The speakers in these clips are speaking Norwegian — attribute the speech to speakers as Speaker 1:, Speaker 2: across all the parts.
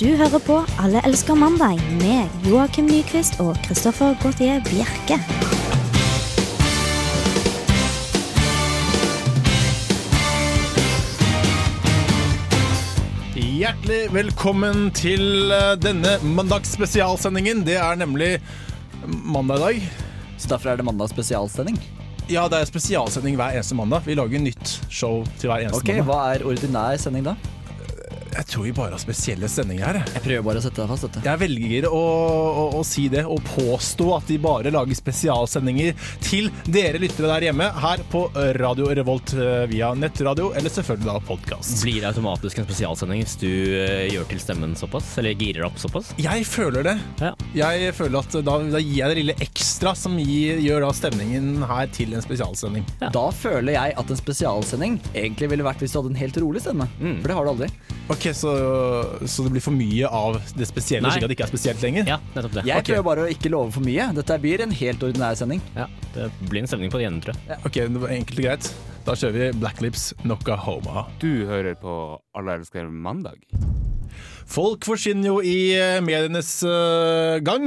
Speaker 1: Du hører på Alle elsker mandag med Joakim Nyquist og Christoffer Gautier Bjerke.
Speaker 2: Hjertelig velkommen til eh, denne mandagsspesialsendingen. Det er nemlig mandag i dag.
Speaker 3: Så derfor er det mandag spesialsending.
Speaker 2: Ja, det er spesialsending hver eneste mandag. Vi lager nytt show til hver eneste
Speaker 3: Ok,
Speaker 2: mandag.
Speaker 3: Hva er ordinær sending, da?
Speaker 2: Jeg tror vi bare har spesielle sendinger her. jeg.
Speaker 3: Jeg prøver bare å sette deg fast. dette
Speaker 2: Jeg velger å, å, å si det og påstå at de bare lager spesialsendinger til dere lyttere der hjemme, her på Radio Revolt eh, via nettradio, eller selvfølgelig da podkast.
Speaker 4: Blir det automatisk en spesialsending hvis du eh, gjør til stemmen såpass? Eller girer opp såpass?
Speaker 2: Jeg føler det.
Speaker 4: Ja.
Speaker 2: Jeg føler at da, da gir jeg det lille ekstra som gir, gjør da stemningen her til en spesialsending.
Speaker 4: Ja.
Speaker 3: Da føler jeg at en spesialsending egentlig ville vært hvis du hadde en helt rolig stemme.
Speaker 4: Mm.
Speaker 3: For det har du aldri.
Speaker 2: Ok, så, så det blir for mye av det spesielle,
Speaker 4: Nei.
Speaker 2: slik at det ikke er spesielt lenger?
Speaker 4: Ja, nettopp det.
Speaker 3: Jeg
Speaker 2: Ok.
Speaker 3: prøver bare å ikke love for mye. Dette blir en helt ordinær sending.
Speaker 4: Ja, det blir en stemning på det igjen, tror jeg.
Speaker 2: Ok, det var enkelt og greit. Da kjører vi Black Lips Knocka Homa.
Speaker 5: Du hører på Alle elsker mandag.
Speaker 2: Folk forsvinner jo i eh, medienes eh, gang.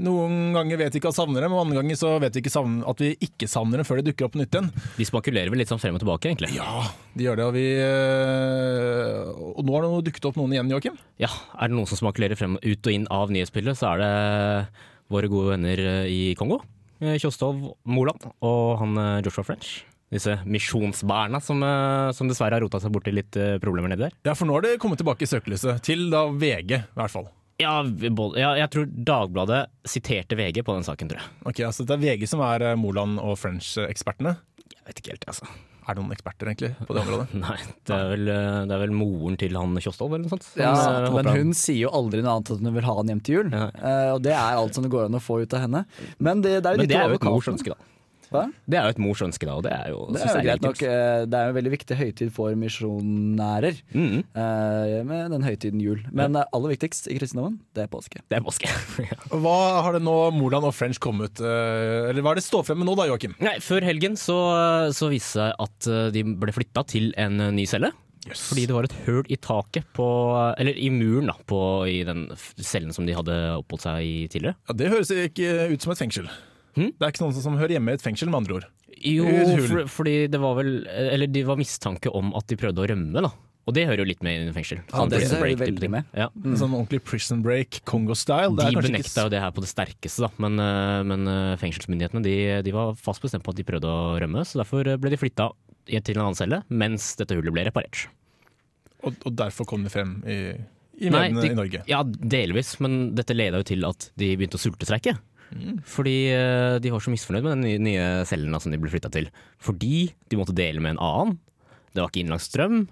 Speaker 2: Noen ganger vet vi ikke at savner dem, og andre ganger så vet vi ikke savn- at vi ikke savner dem før de dukker opp på nytt igjen.
Speaker 4: De spankulerer vel litt sånn frem og tilbake, egentlig.
Speaker 2: Ja, de gjør det, og vi eh, Og nå har det dukket opp noen igjen, Joakim.
Speaker 4: Ja, er det noen som spankulerer frem ut og inn av nyhetsbildet, så er det våre gode venner eh, i Kongo. Eh, Kjostov Moland og han eh, Joshua French. Disse misjonsbærene som, eh, som dessverre har rota seg borti litt eh, problemer nedi der.
Speaker 2: Ja, for nå har det kommet tilbake i søkelyset. Til da VG, i hvert fall.
Speaker 4: Ja, vi- både- ja, jeg tror Dagbladet siterte VG på den saken, tror jeg.
Speaker 2: Ok, altså Det er VG som er eh, Moland og French-ekspertene.
Speaker 4: Jeg vet ikke helt, altså.
Speaker 2: Er det noen eksperter, egentlig, på det området?
Speaker 4: Nei, det er vel, eh, det er vel moren til han Kjostov eller noe sånt.
Speaker 3: Ja,
Speaker 4: Som, eh,
Speaker 3: men
Speaker 4: håper
Speaker 3: hun sier jo aldri noe annet enn at hun vil ha han hjem til jul.
Speaker 4: Ja.
Speaker 3: Eh, og det er alt som det går an å få ut av henne. Men det, det er jo
Speaker 4: Men
Speaker 3: litt
Speaker 4: det er
Speaker 3: over
Speaker 4: jo et mors
Speaker 3: kaffen.
Speaker 4: ønske, da.
Speaker 3: Hva?
Speaker 4: Det er jo et mors ønske, da, og det er jo,
Speaker 3: Det
Speaker 4: synes
Speaker 3: er jo
Speaker 4: jeg
Speaker 3: greit nok.
Speaker 4: legitimt.
Speaker 3: eh, Det er jo en veldig viktig høytid for misjonærer.
Speaker 4: Mhm.
Speaker 3: eh, med den høytiden jul. Men eh, aller viktigst i kristendommen, det er påske.
Speaker 4: Det er påske. Ja.
Speaker 2: Hva har det nå Moland og French kommet eh, Eller hva er det står frem med nå da, Joakim?
Speaker 4: Nei, før helgen så, så viste det seg at eh, de ble flytta til en eh, ny celle. Fordi det var et høl i taket på Eller i muren, da, på, i den f- cellen som de hadde oppholdt seg i tidligere.
Speaker 2: Ja, det høres ikke ut som et fengsel.
Speaker 4: Hm?
Speaker 2: Det er ikke noen som hører hjemme i et fengsel, med andre ord.
Speaker 4: Jo,
Speaker 2: Et hull.
Speaker 4: for, fordi det var vel eh, Eller de var mistanke om at de prøvde å rømme, da. Og det hører jo litt med i fengsel.
Speaker 3: Ja, det
Speaker 4: prison
Speaker 3: hører
Speaker 4: break-type
Speaker 3: veldig
Speaker 4: ting.
Speaker 3: med.
Speaker 4: Ja.
Speaker 2: En Sånn ordentlig prison break, Kongo-style. Det er
Speaker 4: Hmm. De
Speaker 2: kanskje
Speaker 4: benekta jo det her på det sterkeste, da. Men, eh, men eh, fengselsmyndighetene de, de var fast bestemt på at de prøvde å rømme, så derfor eh, ble de flytta i- til en annen celle mens dette hullet ble reparert.
Speaker 2: ikke, og, og derfor kom det frem i, i mediene i
Speaker 4: de-
Speaker 2: Norge.
Speaker 4: Ja, delvis, men dette leda jo til at de begynte å sultestreike.
Speaker 2: Mm.
Speaker 4: Fordi eh, de var så misfornøyd med den nye, nye cellen da, som de ble flytta til. Fordi de måtte dele med en annen. Det var ikke innlagt strøm.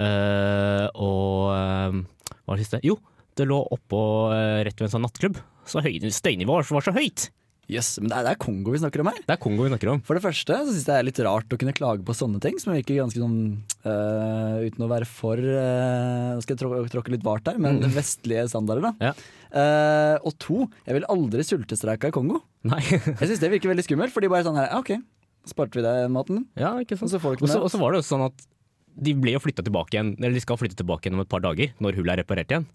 Speaker 4: Eh, og eh, hva var det siste? Jo, det lå oppå eh, rett ved en sånn nattklubb. Så høy, støynivået var så høyt!
Speaker 3: Yes, men det er, det er Kongo vi snakker om her.
Speaker 4: Det er Kongo vi snakker om.
Speaker 3: For det første så syns jeg det er litt rart å kunne klage på sånne ting, som virker ganske sånn øh, Uten å være for øh, Nå skal jeg trå tråkke litt vart her, men vestlige standarder, da.
Speaker 4: Ja.
Speaker 3: Eh, og to, jeg vil aldri sultestreika i Kongo.
Speaker 4: Nei.
Speaker 3: Jeg syns det virker veldig skummelt, for de bare er sånn her, «Ja, OK, sparte vi deg maten?
Speaker 4: ja, ikke
Speaker 3: Og
Speaker 4: sant.
Speaker 3: så får du
Speaker 4: Og
Speaker 3: ikke
Speaker 4: så
Speaker 3: noe.
Speaker 4: og så var det jo sånn at de ble jo flyttet tilbake igjen, eller de skal flytte tilbake igjen om et par dager, når hullet er reparert igjen.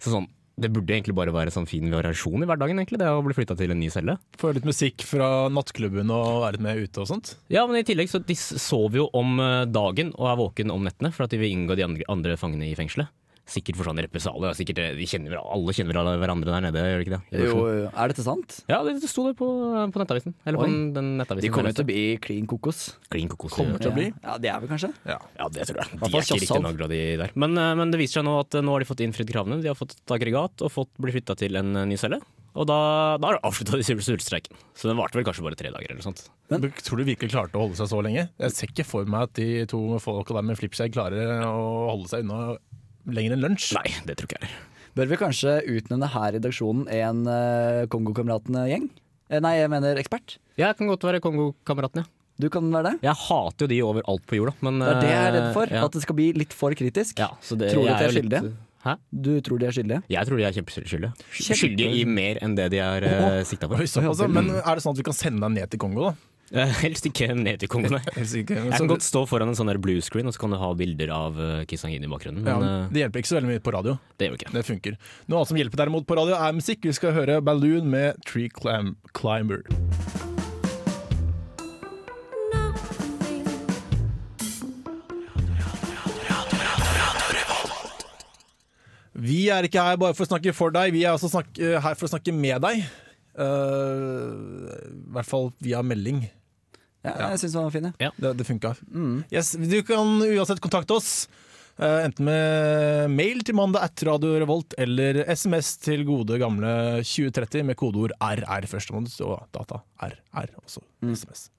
Speaker 4: Så sånn, det burde egentlig bare være sånn fin variasjon i hverdagen, egentlig, det å bli flytta til en ny celle.
Speaker 2: Få høre litt musikk fra nattklubben og være litt med ute og sånt.
Speaker 4: Ja, men i tillegg så de s- sover jo om eh, dagen og er våken om nettene for at de vil inngå de andre, andre fangene i fengselet. Sikkert for sånne represalier. Sikkert, eh, de kjenner, vel- alle kjenner vel hverandre der nede, gjør de ikke det?
Speaker 3: Jo, jo. Er dette sant?
Speaker 4: Ja, det det sto det på, på nettavisen. Eller
Speaker 3: Oi.
Speaker 4: på den, den nettavisen.
Speaker 3: De kommer jo
Speaker 4: jeg
Speaker 3: til
Speaker 4: leste.
Speaker 3: å bli klin kokos.
Speaker 4: Klin kokos.
Speaker 2: Kommer til å bli.
Speaker 3: Ja, det er vi kanskje.
Speaker 2: Ja.
Speaker 4: Ja, det tror jeg.
Speaker 3: hvert
Speaker 4: De
Speaker 3: fall
Speaker 4: er ikke riktig
Speaker 3: Kjassal.
Speaker 4: nagla, de der. Men, eh, men det viser seg nå at eh, nå har de fått innfridd kravene. De har fått et aggregat og fått bli flytta til en eh, ny celle. Og da, da avslutta de sul- sultstreiken. Så den varte vel kanskje bare tre dager eller noe sånt.
Speaker 2: Men, tror du virkelig klarte å holde seg så lenge? Jeg ser ikke for meg at de to folka der med flipskjegg klarer å holde seg unna lenger enn lunsj.
Speaker 4: Nei, det tror ikke jeg heller.
Speaker 3: Bør vi kanskje utnevne her i redaksjonen en uh, Kongokameratene-gjeng? Eh, nei, jeg mener ekspert.
Speaker 4: Jeg kan godt være Kongokameraten, ja.
Speaker 3: Du kan være det.
Speaker 4: Jeg hater jo de overalt på jorda, men
Speaker 3: Det er det jeg er redd for.
Speaker 4: eh, Ja.
Speaker 3: At det skal bli litt for kritisk.
Speaker 4: Ja, så det,
Speaker 3: Tror du
Speaker 4: jeg
Speaker 3: at de er
Speaker 4: jo litt-
Speaker 3: skyldige?
Speaker 4: Hæ?
Speaker 3: Du tror de er skyldige?
Speaker 4: Jeg tror de er kjempeskyldige.
Speaker 3: Kjempe-
Speaker 4: Skyldige i mer enn det de er uh, sikta for.
Speaker 2: Oi, såpass, ja. Men er det sånn at vi kan sende deg ned til Kongo, da?
Speaker 4: Eh, Helst ikke ned til Kongo, nei. Jeg kan godt stå foran en sånn der blue screen, og så kan du ha bilder av eh, Kisangini i bakgrunnen.
Speaker 2: Ja,
Speaker 4: Men
Speaker 2: men det hjelper ikke så veldig mye på radio.
Speaker 4: eh, det gjør vi ikke.
Speaker 2: Det funker. Noe annet som hjelper derimot på radio, er musikk. Vi skal høre Balloon med Tree Clam Climber. Vi er ikke her bare for å snakke for deg, vi er også snakk- eh, her for å snakke med deg. Eh, I hvert fall via melding.
Speaker 3: Ja, jeg syns den var fin, jeg.
Speaker 2: Det, det funka. Yes, du kan uansett kontakte oss. eh, enten med mail til mandag at Radio Revolt eller SMS til gode gamle 2030 med kodeord RR førstemåned og data RR, også SMS.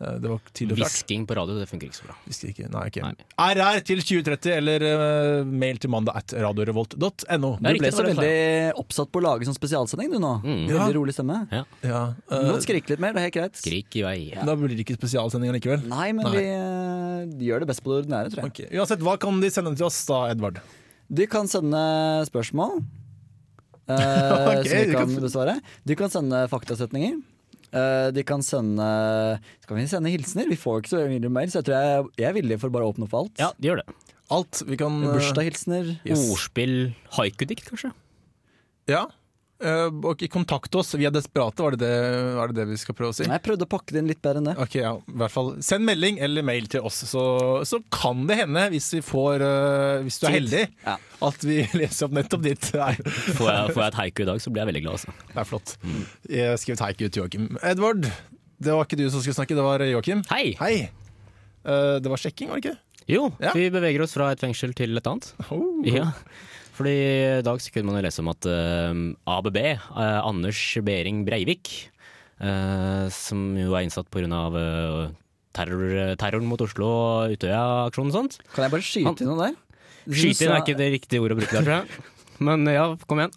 Speaker 2: Eh, Det var tidlig og klart.
Speaker 4: Hvisking på radio, det funker ikke så bra.
Speaker 2: Visste ikke. Nei, ikke.
Speaker 4: Nei.
Speaker 2: RR til 2030 eller eh, mail til mandag at radiorevolt.no.
Speaker 4: Ja,
Speaker 3: Du ble
Speaker 4: riktig, det
Speaker 3: så
Speaker 4: var det jeg sa,
Speaker 3: veldig oppsatt på å lage sånn spesialsending du nå.
Speaker 2: Ja.
Speaker 3: Veldig rolig stemme.
Speaker 4: Ja.
Speaker 2: Ja,
Speaker 3: Du
Speaker 2: eh,
Speaker 3: må skrike litt mer, det er helt greit.
Speaker 4: Skrik i vei.
Speaker 2: da blir det ikke spesialsending likevel.
Speaker 3: Nei, men
Speaker 2: Nei.
Speaker 3: vi eh, gjør det best på det ordinære, tror jeg.
Speaker 2: Ok. Uansett, hva kan de sende til oss da, Edvard?
Speaker 3: Du kan sende spørsmål eh,
Speaker 2: Ok,
Speaker 3: som vi
Speaker 2: du
Speaker 3: kan
Speaker 2: kan-
Speaker 3: besvare. Du kan sende faktasetninger. Eh, de kan sende Skal vi sende hilsener? Vi får ikke så mye mail, så jeg tror jeg, jeg er villig for bare å åpne opp for alt.
Speaker 4: Ja, det gjør det.
Speaker 2: Alt vi kan eh,
Speaker 3: Bursdagshilsener.
Speaker 2: yes.
Speaker 4: Ordspill, haikudikt kanskje?
Speaker 2: Ja. eh, og ikke kontakt oss. Vi er desperate, var det det, var det, det vi skal prøve å si?
Speaker 3: Nei, Jeg prøvde å pakke det inn litt bedre enn det.
Speaker 2: Ok, ja, i hvert fall Send melding eller mail til oss, så, så kan det hende, hvis, vi får, eh, hvis du er heldig,
Speaker 3: Ja.
Speaker 2: at vi leser opp nettopp ditt. Nei,
Speaker 4: Får jeg, får jeg et haiku i dag, så blir jeg veldig glad, altså.
Speaker 2: det er flott. Jeg skrev teik ut til Joakim. Edvard, det var ikke du som skulle snakke, det var Joakim.
Speaker 4: Hei!
Speaker 2: Hei! Eh, det var sjekking, var det ikke?
Speaker 4: Jo,
Speaker 2: Ja.
Speaker 4: vi beveger oss fra et fengsel til et annet.
Speaker 2: Oh.
Speaker 4: Ja. Fordi i dag så kunne man jo lese om at eh, ABB, eh, Anders Behring Breivik, eh, som jo er innsatt pga. Uh, terror, terroren mot Oslo og Utøya-aksjonen og sånt.
Speaker 3: Kan jeg bare skyte
Speaker 4: Han-
Speaker 3: inn noe der?
Speaker 4: Skyte inn er ikke det riktige ordet å bruke der, tror jeg. Men ja, kom igjen.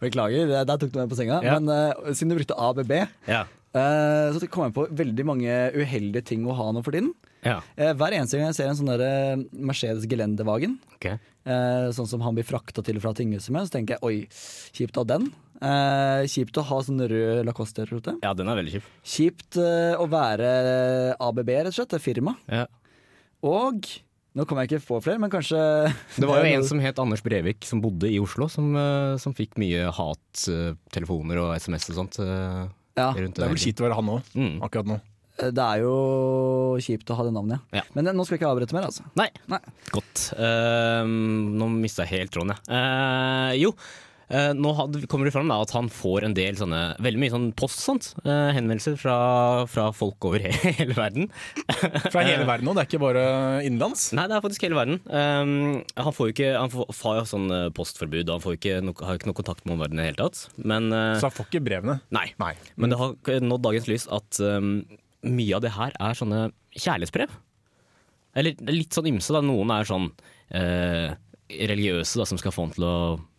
Speaker 3: Beklager, der- der tok du meg på senga.
Speaker 4: Ja.
Speaker 3: Men eh, siden du brukte ABB,
Speaker 4: Ja.
Speaker 3: eh, så kom jeg på veldig mange uheldige ting å ha nå for tiden.
Speaker 4: ja.
Speaker 3: Eh, hver eneste gang jeg ser en sånn der, eh, Mercedes Gelendewagen,
Speaker 4: Ok.
Speaker 3: eh, sånn som han blir frakta til og fra tinghuset med, så tenker jeg oi, kjipt å ha den. Eh, kjipt å ha sånn rød Lacoste-rote.
Speaker 4: Ja, den er veldig kjip.
Speaker 3: Kjipt eh, å være eh, ABB, rett og slett. Det er firma.
Speaker 4: Ja.
Speaker 3: Og nå kommer jeg ikke på flere, men kanskje
Speaker 4: Det var jo en som het Anders Brevik, som bodde i Oslo, som, eh, som fikk mye hattelefoner og SMS og sånt. eh,
Speaker 3: ja.
Speaker 4: rundt
Speaker 2: Det er vel kjipt å være han òg,
Speaker 4: Mm.
Speaker 2: akkurat nå.
Speaker 3: Eh, Det er jo kjipt å ha det navnet,
Speaker 4: Ja.
Speaker 3: Men eh, nå skal jeg ikke avbryte mer, altså.
Speaker 4: Nei.
Speaker 3: Nei.
Speaker 4: Godt. Ehm, nå mista jeg helt tråden, jeg. Eh, jo, eh, nå hadde, kommer det fram da, at han får en del sånne Veldig mye sånn post, sant? Eh, henvendelser fra, fra folk over he hele verden.
Speaker 2: Fra hele verden nå, det er ikke bare innenlands.
Speaker 4: Nei, det er faktisk hele verden. Ehm, han får jo ikke Han får, får jo sånn eh, postforbud, og han får ikke noe- har ikke noe kontakt med omverdenen i det hele tatt. Men eh,
Speaker 2: Så han får ikke brevene.
Speaker 4: Nei.
Speaker 2: Nei.
Speaker 4: Men det har nådd dagens lys at um, mye av det her er sånne kjærlighetsbrev. Eller litt sånn ymse, da. Noen er sånn eh, religiøse da, som skal få han til å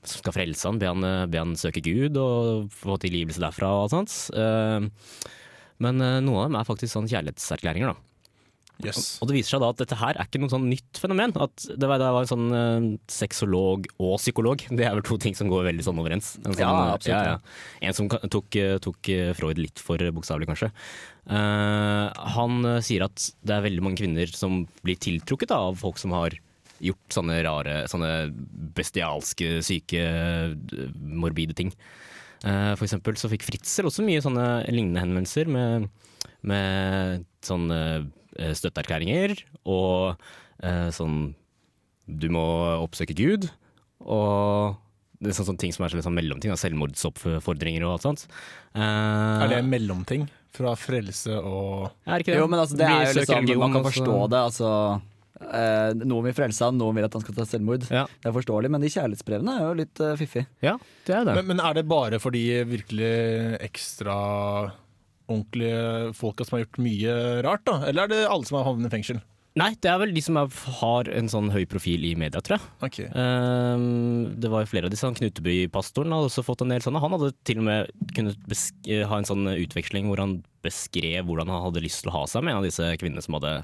Speaker 4: som skal frelse han, be han, eh, be han søke Gud og få tilgivelse derfra og alt sånt. Eh, men eh, noen av dem er faktisk sånn kjærlighetserklæringer, da.
Speaker 2: Yes.
Speaker 4: Og det viser seg da at dette her er ikke noe sånn nytt fenomen. At det var, det var en sånn eh, sexolog og psykolog. Det er vel to ting som går veldig sånn overens. En sånn,
Speaker 3: Ja, absolutt, ja.
Speaker 4: En som ka- tok, eh, tok eh, Freud litt for bokstavelig, kanskje. Eh, han eh, sier at det er veldig mange kvinner som blir tiltrukket da, av folk som har gjort sånne rare, sånne bestialske, syke, eh, morbide ting. Eh, For eksempel så fikk Fritzel også mye sånne lignende henvendelser med, med sånne eh, støtteerklæringer og eh, sånn du må oppsøke Gud og det er sånne, sånne ting som er sånn mellomting, da, selvmordsoppfordringer og alt sånt. Eh,
Speaker 2: Er det en mellomting fra frelse og
Speaker 4: er ikke det?
Speaker 3: Jo, men altså, det
Speaker 4: Vi
Speaker 3: er jo
Speaker 4: søker
Speaker 3: liksom,
Speaker 4: religion,
Speaker 3: man kan
Speaker 4: og så-
Speaker 3: forstå det. Altså, eh, noen vil frelse han, noen vil at han skal ta selvmord.
Speaker 4: Ja.
Speaker 3: Det er forståelig, men de kjærlighetsbrevene er jo litt eh, fiffig.
Speaker 4: Ja, det er det.
Speaker 2: Men, men er det bare for de virkelig ekstra ordentlige folka som har gjort mye rart, da? Eller er det alle som har havnet i fengsel?
Speaker 4: Nei, det er vel de som er, har en sånn høy profil i media, tror jeg.
Speaker 2: Ok.
Speaker 4: Ehm, det var jo flere av disse. han Knuteby-pastoren hadde også fått en del sånne. Han hadde til og med kunnet besk ha en sånn utveksling hvor han beskrev hvordan han hadde lyst til å ha seg med en av disse kvinnene som hadde,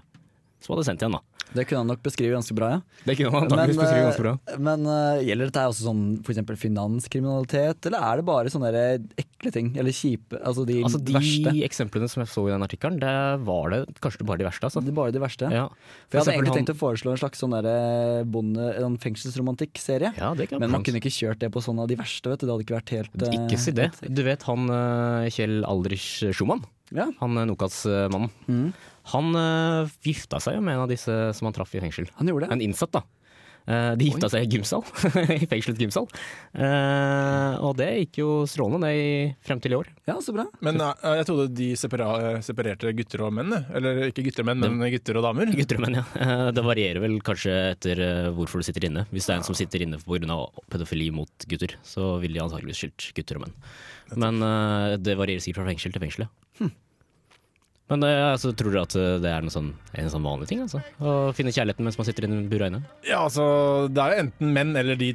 Speaker 4: som hadde sendt igjen. da.
Speaker 3: Det kunne han nok beskrive ganske bra, ja.
Speaker 5: Det kunne han
Speaker 3: Men,
Speaker 5: antakeligvis beskrive ganske bra.
Speaker 3: eh, men eh, gjelder dette her også sånn for eksempel finanskriminalitet, eller er det bare sånne der ekle ting? Eller kjipe? Altså de,
Speaker 4: Altså De
Speaker 3: verste?
Speaker 4: eksemplene som jeg så i den artikkelen, det var det kanskje bare de verste. Altså.
Speaker 3: Det er bare de verste.
Speaker 4: Ja.
Speaker 3: For jeg hadde
Speaker 4: eksempel
Speaker 3: egentlig
Speaker 4: han-
Speaker 3: tenkt å foreslå en slags sånn derre bonde... En fengselsromantikkserie.
Speaker 4: Ja, det kan
Speaker 3: Men man
Speaker 4: plans.
Speaker 3: kunne ikke kjørt det på sånn av de verste, vet du. Det hadde ikke vært helt eh,
Speaker 4: Ikke si det. Du vet han eh, Kjell Aldrich Schumann,
Speaker 3: Ja.
Speaker 4: han eh, Nokas-mannen.
Speaker 3: Mm.
Speaker 4: Han eh, gifta seg jo med en av disse som han traff i fengsel.
Speaker 3: Han gjorde det.
Speaker 4: En innsatt, da. Eh, de gifta seg i gymsal. I fengselets gymsal. Eh, og det gikk jo strålende det i, frem til i år.
Speaker 3: Ja, så bra.
Speaker 2: Men eh, jeg trodde de separa separerte gutter og menn. jeg. Eller ikke gutter og menn, men gutter og damer.
Speaker 4: Gutter og menn, ja. Eh, det varierer vel kanskje etter eh, hvorfor du sitter inne. Hvis det er en som sitter inne pga. pedofili mot gutter, så vil de antakeligvis skilt gutter og menn. Men eh, det varierer sikkert fra fengsel til fengsel, ja. Men eh, altså, tror dere at eh, det er noe sånn, en sånn vanlig ting? Altså? Å finne kjærligheten mens man sitter inne bura inne?
Speaker 2: Ja, altså, det er jo enten menn eller de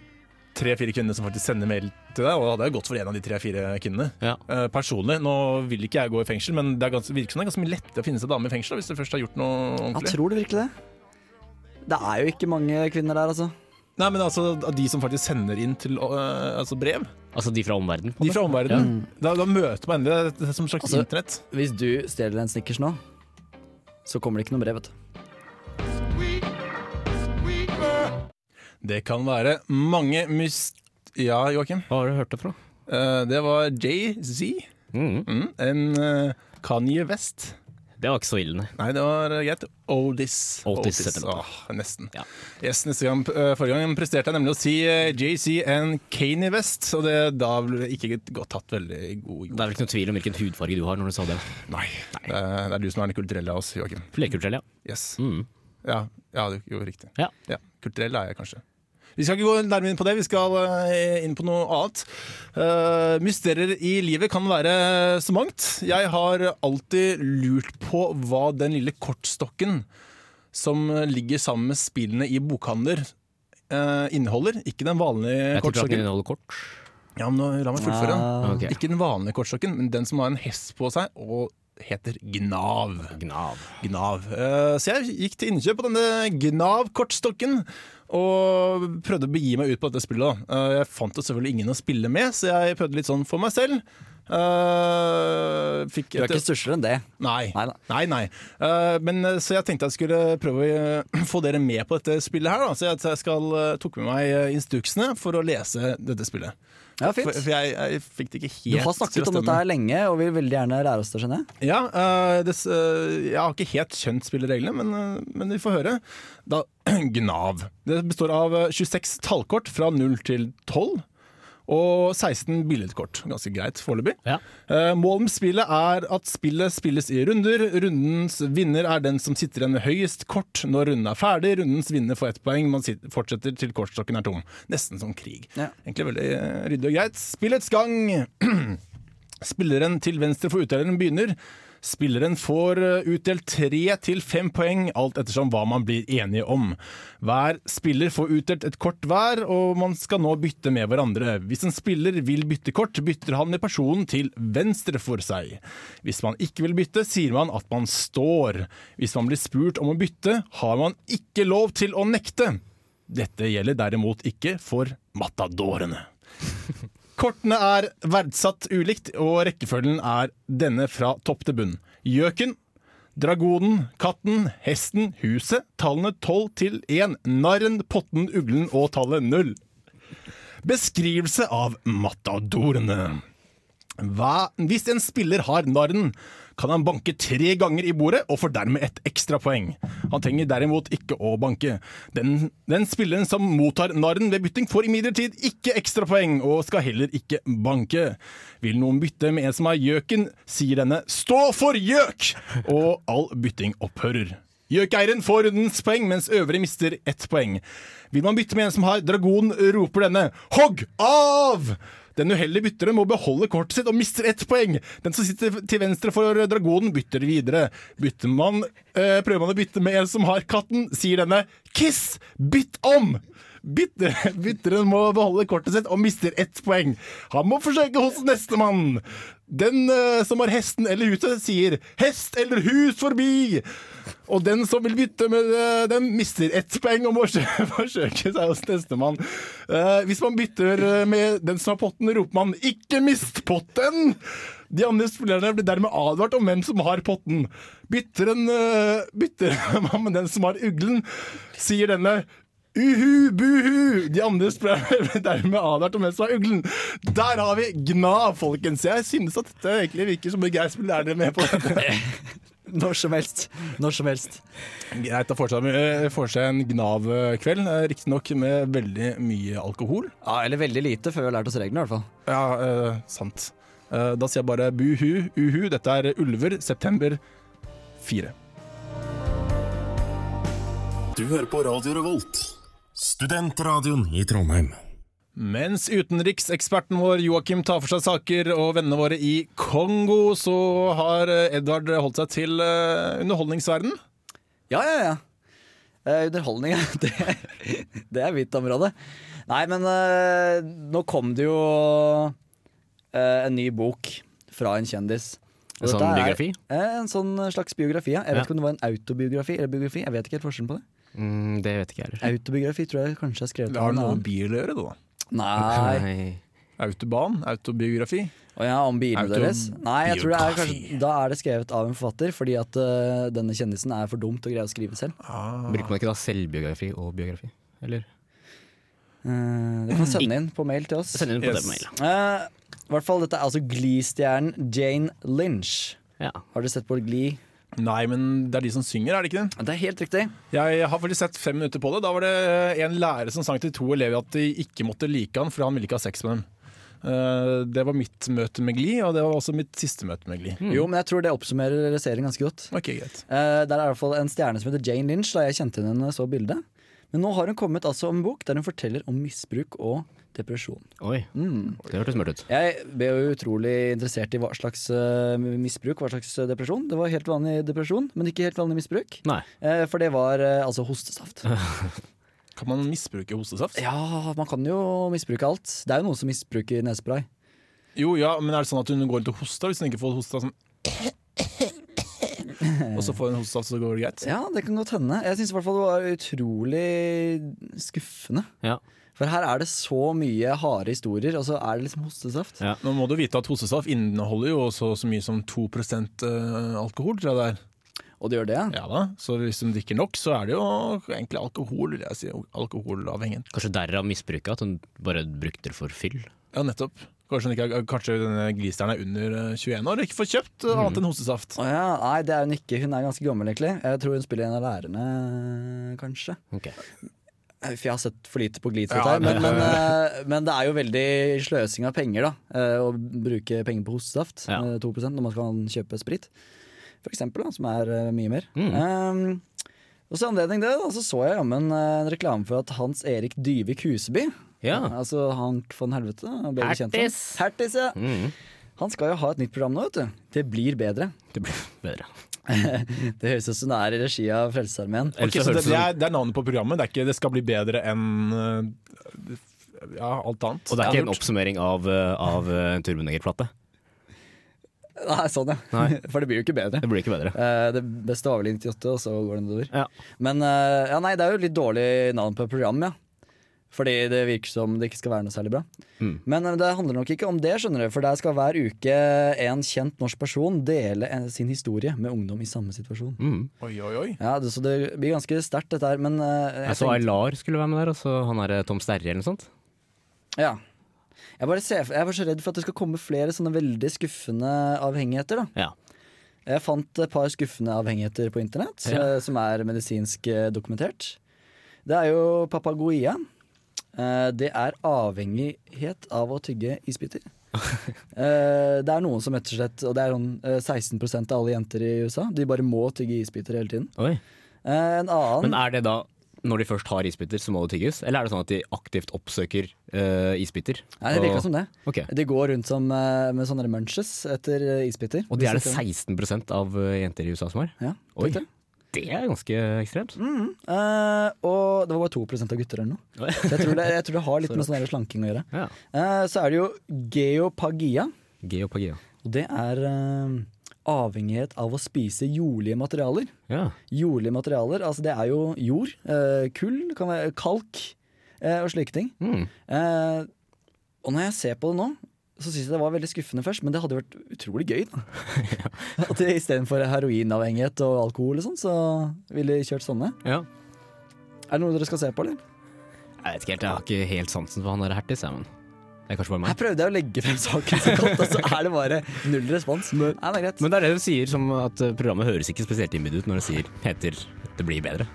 Speaker 2: tre-fire kvinnene som faktisk sender mail til deg, og det er jo godt for en av de tre-fire kvinnene.
Speaker 4: Ja.
Speaker 2: Eh, personlig, nå vil ikke jeg gå i fengsel, men det er ganske, virker som det er ganske mye lettere å finne seg dame i fengsel da, hvis du først har gjort noe
Speaker 3: Ja,
Speaker 2: ordentlig.
Speaker 3: tror du virkelig det? Det er jo ikke mange kvinner der, altså.
Speaker 2: Nei, men altså, av de som faktisk sender inn til eh, altså brev,
Speaker 4: Altså de fra omverdenen? på en
Speaker 2: de
Speaker 4: måte.
Speaker 2: fra omverdenen, da, da møter man endelig det er som et slags
Speaker 3: Altså-
Speaker 2: internett.
Speaker 3: Hvis du stjeler en snickers nå, så kommer det ikke noe brev, vet du.
Speaker 2: Det kan være mange myst... Ja, Joakim.
Speaker 4: Hva har du hørt det fra?
Speaker 2: Eh, det var Jay-Z,
Speaker 4: Mm.
Speaker 2: mm, en eh, Kanye West.
Speaker 4: Det var ikke så ille, nei.
Speaker 2: Nei, det var eh, greit. Oldis.
Speaker 4: Otis heter låta.
Speaker 2: Åh, nesten.
Speaker 4: Ja.
Speaker 2: Yes, neste gang, eh, forrige gang presterte jeg nemlig å si eh, JC and Kanye West, og det, da ble det ikke godt tatt veldig i god
Speaker 4: Det
Speaker 2: jord.
Speaker 4: er vel ikke noen tvil om hvilken hudfarge du har når du sa det.
Speaker 2: Nei. Det, er, det er du som er den kulturelle av oss, Joakim.
Speaker 4: Flerkulturell, ja.
Speaker 2: Yes.
Speaker 4: Mm.
Speaker 2: Ja, ja det gjorde riktig.
Speaker 4: Ja.
Speaker 2: Kulturell er jeg kanskje. Vi skal ikke gå nærmere inn på det, vi skal eh, inn på noe annet. Eh, mysterier i livet kan være så mangt. Jeg har alltid lurt på hva den lille kortstokken som ligger sammen med spillene i bokhandler, eh, inneholder. Ikke den vanlige
Speaker 4: Jeg tror ikke at den
Speaker 2: kortstokken.
Speaker 4: inneholder kort.
Speaker 2: Ja, men nå, la meg fullføre. den.
Speaker 3: Ah.
Speaker 4: Ok.
Speaker 2: Ikke den vanlige kortstokken, men den som har en hest på seg og heter Gnav.
Speaker 4: Gnav.
Speaker 2: Gnav. Eh, Så jeg gikk til innkjøp på denne Gnav-kortstokken. Og prøvde å begi meg ut på dette spillet. da. Eh, Jeg fant jo selvfølgelig ingen å spille med, så jeg prøvde litt sånn for meg selv. Eh, fikk
Speaker 3: Du er ikke stussligere enn det.
Speaker 2: Nei.
Speaker 3: Nei da.
Speaker 2: Nei, nei. Eh, men, eh, så jeg tenkte jeg skulle prøve å eh, få dere med på dette spillet her. Da. Så jeg, så jeg skal, eh, tok med meg eh, instruksene for å lese dette spillet.
Speaker 3: Ja,
Speaker 2: For,
Speaker 3: fint.
Speaker 2: for jeg, jeg fikk det ikke helt
Speaker 3: Du
Speaker 2: til
Speaker 3: har
Speaker 2: å
Speaker 3: snakket om
Speaker 2: stemme.
Speaker 3: dette her lenge og vil veldig gjerne lære oss det, skjønner jeg.
Speaker 2: Ja, eh, det, s- eh, jeg har ikke helt skjønt spillereglene, men, eh, men vi får høre. Da, gnav. Det består av eh, 26 tallkort fra 0 til 12. Og 16 billedkort. Ganske greit foreløpig.
Speaker 4: Ja.
Speaker 2: Eh, Målet med spillet er at spillet spilles i runder. Rundens vinner er den som sitter igjen med høyest kort når runden er ferdig. Rundens vinner får ett poeng. Man sit- fortsetter til kortstokken er tom. Nesten som krig.
Speaker 3: Ja.
Speaker 2: Egentlig veldig eh, ryddig og greit. Spillets gang. Spilleren til venstre for utdeleren begynner. Spilleren får eh, utdelt tre til fem poeng, alt ettersom hva man blir enige om. Hver spiller får utdelt et kort hver, og man skal nå bytte med hverandre. Hvis en spiller vil bytte kort, bytter han med personen til venstre for seg. Hvis man ikke vil bytte, sier man at man står. Hvis man blir spurt om å bytte, har man ikke lov til å nekte. Dette gjelder derimot ikke for matadorene. Kortene er verdsatt ulikt, og rekkefølgen er denne fra topp til bunn. Gjøken, dragonen, katten, hesten, huset, tallene 12 til 1, narren, potten, uglen og tallet 0. Beskrivelse av matadorene. Hva, hvis en spiller har narren, kan han banke tre ganger i bordet og får dermed et ekstra poeng. Han trenger derimot ikke å banke. Den, den spilleren som mottar narren ved bytting, får imidlertid ikke ekstra poeng og skal heller ikke banke. Vil noen bytte med en som har gjøken, sier denne 'stå for gjøk', og all bytting opphører. Gjøkeieren får rundens poeng, mens øvrige mister ett poeng. Vil man bytte med en som har dragon, roper denne 'hogg av'! Den uheldige bytteren må beholde kortet sitt og mister ett poeng. Den som sitter til venstre for dragonen, bytter videre. Bytter man, eh, prøver man å bytte med en som har katten, sier denne Kiss! Bytt om! Bytte, bytteren må beholde kortet sitt og mister ett poeng. Han må forsøke hos nestemann. Den eh, som har hesten eller huset, sier 'hest eller hus forbi'. Og den som vil bytte med eh, dem, mister ett poeng og må forsø- forsøke seg hos nestemann. Eh, hvis man bytter eh, med den som har potten, roper man 'ikke mist potten'! De andre spillerne blir dermed advart om hvem som har potten. Bytter, en, eh, bytter man med den som har uglen, sier denne Uhu, buhu! De andre spør dermed advart om hvem som er uglen. Der har vi Gna, folkens. Jeg synes at dette egentlig virker som begeistring. Er dere med på det?
Speaker 3: Når som helst. Når som helst.
Speaker 2: Greit, da får seg, eh, får seg en Gnav-kveld. eh, Riktignok med veldig mye alkohol.
Speaker 3: Ja, Eller veldig lite, før vi har lært oss reglene. i hvert fall
Speaker 2: Ja, eh, sant. Eh, da sier jeg bare buhu, uhu. Dette er Ulver, september fire.
Speaker 6: Du hører på Radio Revolt, studentradioen i Trondheim.
Speaker 2: Mens utenrikseksperten vår Joakim tar for seg saker og vennene våre i Kongo, så har eh, Edvard holdt seg til eh, underholdningsverden.
Speaker 3: Ja, ja, ja. Eh, underholdning, ja. det, det er mitt område. Nei, men eh, nå kom det jo eh, en ny bok fra en kjendis. Og
Speaker 4: En sånn
Speaker 3: dette er-
Speaker 4: biografi?
Speaker 3: Eh, en sånn slags biografi, ja. Jeg vet
Speaker 4: Ja.
Speaker 3: ikke om det var en autobiografi eller biografi. Jeg vet ikke helt forskjellen på det.
Speaker 4: Mm, det vet ikke jeg heller.
Speaker 3: Autobiografi tror jeg kanskje er skrevet
Speaker 2: Det har
Speaker 3: av en
Speaker 2: noe med
Speaker 3: annen.
Speaker 2: bil å gjøre, det da.
Speaker 3: Nei.
Speaker 2: Autoban, autobiografi.
Speaker 3: Å ja, om bilene
Speaker 2: Autobiografi.
Speaker 3: deres? Nei, jeg tror det er kanskje Da er det skrevet av en forfatter, fordi at eh, denne kjendisen er for dum til å greie å skrive selv.
Speaker 4: Bruker man ikke da selvbiografi og biografi? Eller?
Speaker 3: Eh, det kan du sende inn på mail til oss.
Speaker 4: Send inn på
Speaker 2: Yes.
Speaker 4: det på mail.
Speaker 3: Eh, I hvert fall, dette er altså Glee-stjernen Jane Lynch.
Speaker 4: Ja.
Speaker 3: Har dere sett på Glee?
Speaker 2: Nei, men det er de som synger, er det ikke det?
Speaker 3: Det er helt riktig.
Speaker 2: Jeg har faktisk sett fem minutter på det. Da var det eh, en lærer som sang til to elever at de ikke måtte like han, for han ville ikke ha sex med dem. Eh, Det var mitt møte med Gli, og det var også mitt siste møte med Gli.
Speaker 3: Mm. Jo, men jeg tror det oppsummerer serien ganske godt.
Speaker 2: Ok, greit.
Speaker 3: Eh, der er i hvert fall en stjerne som heter Jane Lynch, da jeg kjente henne når jeg så bildet. Men nå har hun kommet altså om en bok der hun forteller om misbruk og depresjon.
Speaker 4: Oi, det hørtes mørkt ut.
Speaker 3: Jeg ble jo utrolig interessert i hva slags eh, misbruk, hva slags eh, depresjon. Det var helt vanlig depresjon, men ikke helt vanlig misbruk.
Speaker 4: Nei.
Speaker 3: Eh, for det var eh, altså hostesaft.
Speaker 2: Kan man misbruke hostesaft?
Speaker 3: Ja, man kan jo misbruke alt. Det er jo noen som misbruker nesespray.
Speaker 2: Jo, ja, men er det sånn at hun går rundt og hoster hvis hun ikke får hosta sånn Og så får hun hostesaft, så går det greit?
Speaker 3: Ja, det kan godt hende. Jeg syns i hvert fall det var utrolig skuffende.
Speaker 4: Ja.
Speaker 3: For her er det så mye harde historier, og så er det liksom hostesaft.
Speaker 4: Ja.
Speaker 2: Nå må du vite at hostesaft inneholder jo også så mye som 2 eh, alkohol, tror jeg det er.
Speaker 3: Og det gjør det, ja.
Speaker 2: Ja da, så hvis hun drikker nok, så er det jo egentlig alkohol, vil jeg si. Alkoholavhengig.
Speaker 4: Kanskje derav misbruket, at hun bare brukte det for fyll.
Speaker 2: Ja, nettopp. Kanskje, hun ikke, kanskje denne glisteren er under eh, 21 år og ikke får kjøpt eh, annet
Speaker 4: Mm.
Speaker 2: enn hostesaft.
Speaker 3: Å ja, nei, det er hun ikke. Hun er ganske gammel, egentlig. Jeg tror hun spiller en av lærerne, kanskje.
Speaker 4: Ok.
Speaker 3: For jeg har sett for lite på Glitz,
Speaker 2: Ja,
Speaker 3: her, men,
Speaker 2: det-
Speaker 3: men, eh, men det er jo veldig sløsing av penger, da. eh, Å bruke penger på hostesaft,
Speaker 4: Ja.
Speaker 3: eh, 2 når man kan kjøpe sprit. For eksempel, da, som er eh, mye mer.
Speaker 4: Mm.
Speaker 3: Um, og så i anledning det, da, så så jeg jammen eh, en reklame for at Hans Erik Dyvik Huseby
Speaker 4: Ja.
Speaker 3: Altså Hank von Helvete. han ble jo kjent for.
Speaker 4: Hertis.
Speaker 3: Hertis, ja.
Speaker 4: Mm.
Speaker 3: Han skal jo ha et nytt program nå, vet du. Det blir bedre.
Speaker 4: Det blir bedre.
Speaker 3: Det høres ut som det er i regi av Frelsesarmeen.
Speaker 2: Ok,
Speaker 4: Ellers så
Speaker 2: så det, det,
Speaker 4: høres det som-
Speaker 2: er, det er navnet på programmet, det, er ikke, det skal bli bedre enn eh, ja, alt annet.
Speaker 4: Og det er ikke en
Speaker 2: Ja.
Speaker 4: oppsummering av, eh, av eh, en turbonegerplate.
Speaker 3: Nei, sånn, ja.
Speaker 4: Nei.
Speaker 3: For det blir jo ikke bedre.
Speaker 4: Det blir ikke bedre.
Speaker 3: Eh, det beste var vel 98, og så går det nedover.
Speaker 4: Ja.
Speaker 3: Men eh, ja, nei, det er jo litt dårlig navn på programmet, ja. Fordi det virker som det ikke skal være noe særlig bra.
Speaker 4: Mm.
Speaker 3: Men eh, det handler nok ikke om det, skjønner du. For der skal hver uke en kjent norsk person dele eh, sin historie med ungdom i samme situasjon.
Speaker 4: Mm.
Speaker 2: Oi, oi, oi.
Speaker 3: Ja, det, Så det blir ganske sterkt, dette her. Men eh,
Speaker 4: Jeg så Aylar skulle være med der, og så han er eh, Tom Sterre eller noe sånt.
Speaker 3: ja. jeg, bare ser, jeg var så redd for at det skal komme flere sånne veldig skuffende avhengigheter. da
Speaker 4: Ja.
Speaker 3: Jeg fant et par skuffende avhengigheter på internett,
Speaker 4: Ja.
Speaker 3: eh, som er medisinsk eh, dokumentert. Det er jo papagoia. Eh, Det er avhengighet av å tygge isbiter. Eh, det er noen som rett og slett, og det er sånn eh, 16 av alle jenter i USA, de bare må tygge isbiter hele tiden.
Speaker 4: Oi.
Speaker 3: Eh, En
Speaker 4: Men
Speaker 3: annen
Speaker 4: er det da når de først har isbiter, så må det tygges? Eller er det sånn at de aktivt oppsøker eh, isbiter?
Speaker 3: Nei, det virka som det.
Speaker 4: Ok.
Speaker 3: De går rundt som, eh, med sånne munches etter eh, isbiter.
Speaker 4: Og det er det
Speaker 3: Hvis
Speaker 4: 16 av eh, jenter i USA som har?
Speaker 3: Ja,
Speaker 4: Oi.
Speaker 3: vet du.
Speaker 4: Det er ganske ekstremt.
Speaker 3: Eh, og det var bare 2 av gutter eller noe. Så jeg tror det, jeg tror det har litt med sånn der slanking å gjøre.
Speaker 4: Ja.
Speaker 3: Eh, så er det jo geopagia.
Speaker 4: Geopagia.
Speaker 3: Og det er eh, avhengighet av å spise jordlige materialer.
Speaker 4: Ja.
Speaker 3: Jordlige materialer, altså det er jo jord, eh, kull, kan være kalk eh, og slike ting.
Speaker 4: Mm.
Speaker 3: Eh, og når jeg ser på det nå, så syns jeg det var veldig skuffende først, men det hadde jo vært utrolig gøy. da. At Istedenfor heroinavhengighet og alkohol og sånn, så ville de kjørt sånne.
Speaker 4: ja.
Speaker 3: Er det noe dere skal se på, eller?
Speaker 4: Jeg vet ikke helt, jeg har ikke helt sansen for han der Hertis, jeg, men det er kanskje bare
Speaker 3: Her
Speaker 4: meg.
Speaker 3: prøvde jeg å legge frem saken så godt, og så er det bare null respons. Nei, det er greit.
Speaker 4: Men det er det du sier, som at eh, programmet høres ikke spesielt innbydende ut når det sier heter 'Det blir bedre'.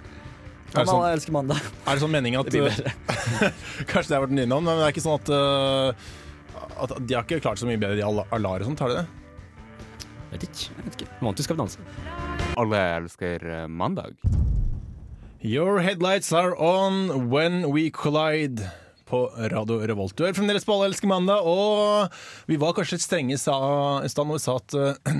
Speaker 2: Er det
Speaker 3: Han
Speaker 2: sånn,
Speaker 3: alle elsker mandag.
Speaker 2: er det sånn mening at
Speaker 3: blir
Speaker 2: Kanskje det har vært nye navn, men det er ikke sånn at øh, at de har ikke klart så mye bedre i Al- Alar og sånt, har de det?
Speaker 4: Vet ikke. Vant til Skal vi danse.
Speaker 5: Alle elsker eh, mandag.
Speaker 2: Your headlights are on when we collide på Radio Revolt. Du er fremdeles på Alle elsker mandag, og vi var kanskje litt strenge i sa- i stand når vi sa at eh,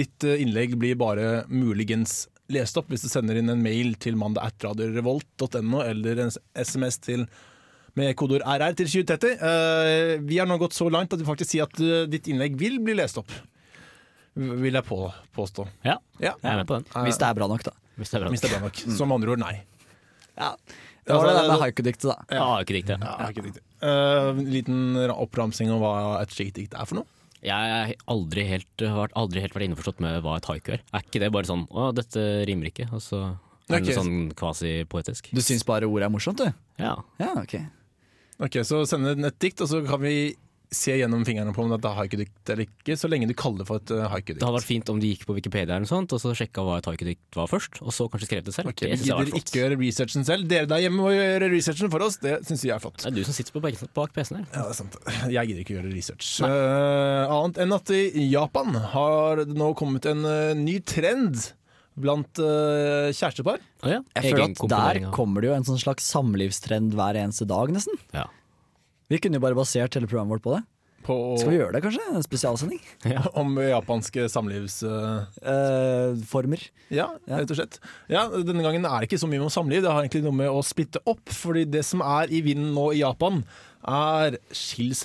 Speaker 2: ditt innlegg blir bare muligens lest opp hvis du sender inn en mail til mandag at radiorevolt.no eller en SMS til med kodeord RR til 2030. Eh, vi har nå gått så langt at vi faktisk sier at eh, ditt innlegg vil bli lest opp. Vil jeg på, påstå.
Speaker 4: Ja,
Speaker 2: Ja.
Speaker 4: jeg er med på den.
Speaker 3: Hvis det er bra nok, da.
Speaker 4: Hvis det er bra.
Speaker 2: Hvis det er bra nok. Så med andre ord, nei.
Speaker 3: Ja. Det
Speaker 4: Altså,
Speaker 3: var det der med haikudiktet, da.
Speaker 4: Ja, ikke riktig.
Speaker 2: Ja, ikke riktig. Eh, en liten oppramsing om hva et slikt dikt er for noe.
Speaker 4: Jeg har aldri helt, eh, vært, aldri helt vært innforstått med hva et haiku er. Er ikke det bare sånn 'å, dette rimer ikke', og så er det
Speaker 2: Ok.
Speaker 4: sånn kvasipoetisk?
Speaker 3: Du syns bare ordet er morsomt, du?
Speaker 4: Ja.
Speaker 3: Ja, ok.
Speaker 2: Ok, Så send inn et dikt, og så kan vi se gjennom fingrene på om dette er haikudikt eller ikke, så lenge du kaller det for et eh,
Speaker 4: Det
Speaker 2: haikudikt.
Speaker 4: hadde vært fint om de gikk på Wikipedia eller noe sånt, og så sjekka hva et haikudikt var først, og så kanskje skrev det selv.
Speaker 2: Ok, Vi
Speaker 4: det synes jeg hadde
Speaker 2: gidder
Speaker 4: vært
Speaker 2: ikke
Speaker 4: flott.
Speaker 2: gjøre researchen selv. Dere der hjemme må gjøre researchen for oss. Det syns vi er flott.
Speaker 4: Det er du som sitter på bak, bak PC-en her.
Speaker 2: Ja, det er sant. Jeg gidder ikke gjøre research. Eh, annet enn at i Japan har det nå kommet en eh, ny trend blant eh, kjærestepar.
Speaker 4: Å ja.
Speaker 3: Jeg føler at der
Speaker 4: Egenkomponering av-
Speaker 3: kommer det jo en sånn slags samlivstrend hver eneste dag, nesten.
Speaker 4: ja.
Speaker 3: Vi kunne jo bare basert hele programmet vårt på det.
Speaker 2: På
Speaker 3: Skal vi gjøre det, kanskje? En spesialsending?
Speaker 2: om japanske samlivs... eh,
Speaker 3: Eh, former.
Speaker 2: Ja, rett og slett. Ja, Denne gangen er det ikke så mye om samliv, det har egentlig noe med å splitte opp. Fordi det som er i vinden nå i Japan, er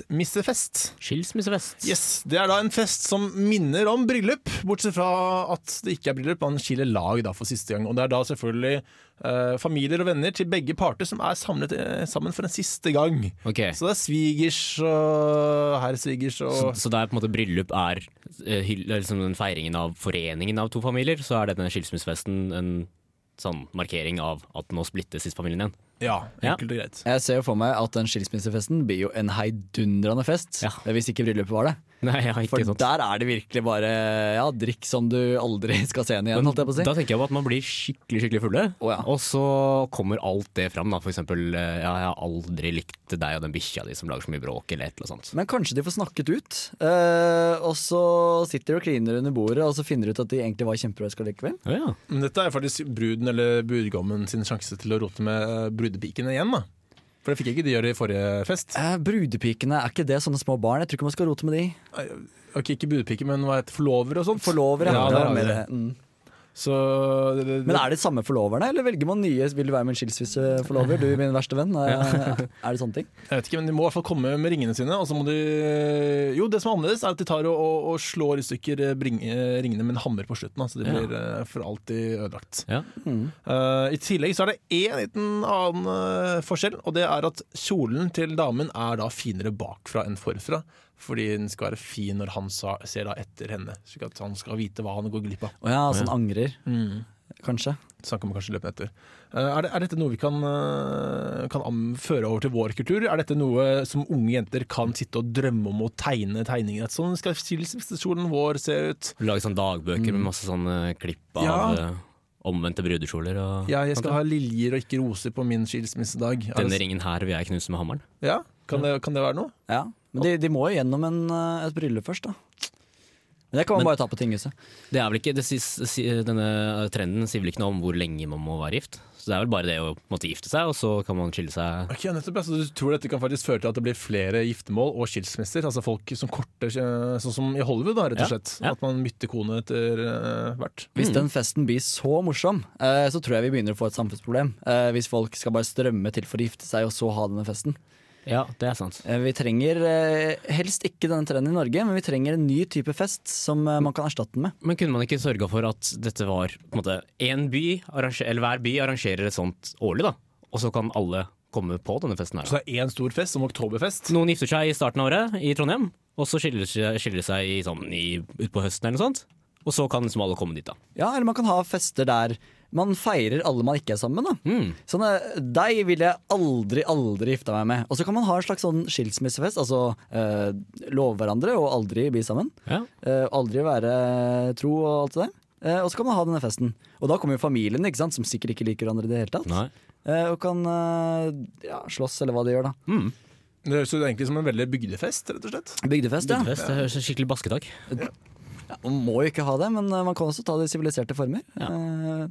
Speaker 2: skilsmissefest.
Speaker 4: Skilsmissefest.
Speaker 2: Yes, Det er da en fest som minner om bryllup, bortsett fra at det ikke er bryllup. Man skiller lag da for siste gang. Og det er da selvfølgelig eh, familier og venner til begge parter som er samlet eh, sammen for en siste gang.
Speaker 4: Ok.
Speaker 2: Så det er svigers og herr svigers
Speaker 4: Så,
Speaker 2: og
Speaker 4: så der på en måte bryllup er eh, hyll- eller liksom den feiringen av foreningen av to familier, så er denne skilsmissefesten en sånn markering av at nå splittes sist familien igjen.
Speaker 2: Ja,
Speaker 4: Ja.
Speaker 2: enkelt og greit.
Speaker 3: Jeg ser jo for meg at den skilsmissefesten blir jo en heidundrende fest,
Speaker 4: Ja.
Speaker 3: hvis ikke bryllupet var det.
Speaker 4: Nei, ja,
Speaker 3: For
Speaker 4: ikke sant.
Speaker 3: der er det virkelig bare ja, drikk som du aldri skal se igjen, igjen,
Speaker 4: Men
Speaker 3: holdt jeg på å si.
Speaker 4: Da tenker jeg på at man blir skikkelig skikkelig fulle,
Speaker 3: Å, ja.
Speaker 4: og så kommer alt det fram. Da. For eksempel eh, ja, 'jeg har aldri likt deg og den bikkja di som lager så mye bråk', eller et eller annet sånt.
Speaker 3: Men kanskje de får snakket ut, eh, og så sitter de og kliner under bordet, og så finner de ut at de egentlig var kjempeforelska likevel.
Speaker 4: Å ja.
Speaker 2: Men dette er faktisk bruden eller brudgommen sin sjanse til å rote med eh, brudepikene igjen, da. For det fikk ikke de gjøre i forrige fest.
Speaker 3: Eh, brudepikene, er ikke det sånne små barn? Jeg tror ikke man skal rote med de.
Speaker 2: Ok, ikke brudepiker, men hva heter forlover og sånt.
Speaker 3: Forlover, ja.
Speaker 2: Ja, der
Speaker 3: det var
Speaker 2: har vi
Speaker 3: mer
Speaker 2: det.
Speaker 3: det. Mm.
Speaker 2: Så det, det,
Speaker 3: Men er det samme forloverne, eller velger man nye? Vil du være min skilsmisseforlover? Du, min verste venn. Eh, Er det sånne ting?
Speaker 2: Jeg vet ikke, men de må i hvert fall komme med ringene sine. Og så må de Jo, det som er annerledes, er at de tar og, og, og slår i stykker eh, bring, eh, ringene med en hammer på slutten. da, Så de
Speaker 4: Ja.
Speaker 2: blir eh, for alltid ødelagt.
Speaker 4: Ja.
Speaker 2: Eh, I tillegg så er det én liten annen eh, forskjell, og det er at kjolen til damen er da finere bakfra enn forfra. Fordi den skal være fin når han sa, ser da etter henne, slik at han skal vite hva han går glipp av.
Speaker 3: Å ja, sånn angrer, kanskje.
Speaker 2: Så han kommer kanskje løpende etter. Eh, er, det, er dette noe vi kan, eh, kan am- føre over til vår kultur? Er dette noe som unge jenter kan sitte og drømme om å tegne tegninger? At sånn skal skilsmissekjolen vår se ut.
Speaker 4: Lage sånne sånn dagbøker
Speaker 3: Mm.
Speaker 4: med masse sånne klipp av
Speaker 2: Ja.
Speaker 4: eh, omvendte brudekjoler og
Speaker 2: Ja, jeg skal ha liljer og ikke roser på min skilsmissedag. Er
Speaker 4: Denne
Speaker 2: det-
Speaker 4: ringen her vil jeg knuse med hammeren.
Speaker 2: Ja? Kan, det, kan det være noe?
Speaker 3: Ja. Men de, de må jo gjennom en, eh, et bryllup først, da. Men det kan man bare ta på tinghuset.
Speaker 4: Det er vel ikke, det, sies- si- denne eh, trenden sier vel ikke noe om hvor lenge man må være gift. Så det er vel bare det å på en måte gifte seg, og så kan man skille seg.
Speaker 2: Ok, nettopp, ja. Så Du tror dette kan faktisk føre til at det blir flere giftermål og skilsmisser? Altså folk som korter eh, Sånn som i Hollywood, da, rett og
Speaker 4: Ja,
Speaker 2: slett.
Speaker 4: ja.
Speaker 2: At man bytter kone etter eh, hvert.
Speaker 3: Hvis den festen blir så morsom, eh, så tror jeg vi begynner å få et samfunnsproblem. Eh, hvis folk skal bare strømme til for å gifte seg, og så ha denne festen.
Speaker 4: Ja, det er sant.
Speaker 3: Eh, vi trenger eh, helst ikke denne trenden i Norge, men vi trenger en ny type fest som eh, man kan erstatte den med.
Speaker 4: Men kunne man ikke sørga for at dette var på en måte en by, arranger, eller hver by arrangerer et sånt årlig, da? Og så kan alle komme på denne festen her.
Speaker 2: Så det er én stor fest, som oktoberfest.
Speaker 4: Noen gifter seg i starten av året i Trondheim, og så skiller de skiller de seg i, sånn, i, utpå høsten eller noe sånt. Og så kan liksom alle komme dit, da.
Speaker 3: Ja, eller man kan ha fester der man feirer alle man ikke er sammen med. Da.
Speaker 4: Mm.
Speaker 3: Sånn, eh, deg vil jeg aldri, aldri gifte meg med. Og så kan man ha en slags sånn skilsmissefest, altså eh, love hverandre og aldri bli sammen.
Speaker 4: Ja.
Speaker 3: Eh, aldri være tro og alt det der. Eh, og så kan man ha denne festen. Og da kommer jo familien, ikke sant, som sikkert ikke liker hverandre i det hele tatt.
Speaker 4: Nei.
Speaker 3: Eh, og kan eh, ja, slåss, eller hva de gjør da.
Speaker 2: Det høres jo egentlig som en veldig bygdefest, rett og slett.
Speaker 3: Bygdefest, ja.
Speaker 4: Fest, det høres ut som skikkelig basketak.
Speaker 3: Man må jo ikke ha det, men eh, man kan også ta det i siviliserte former. Eh,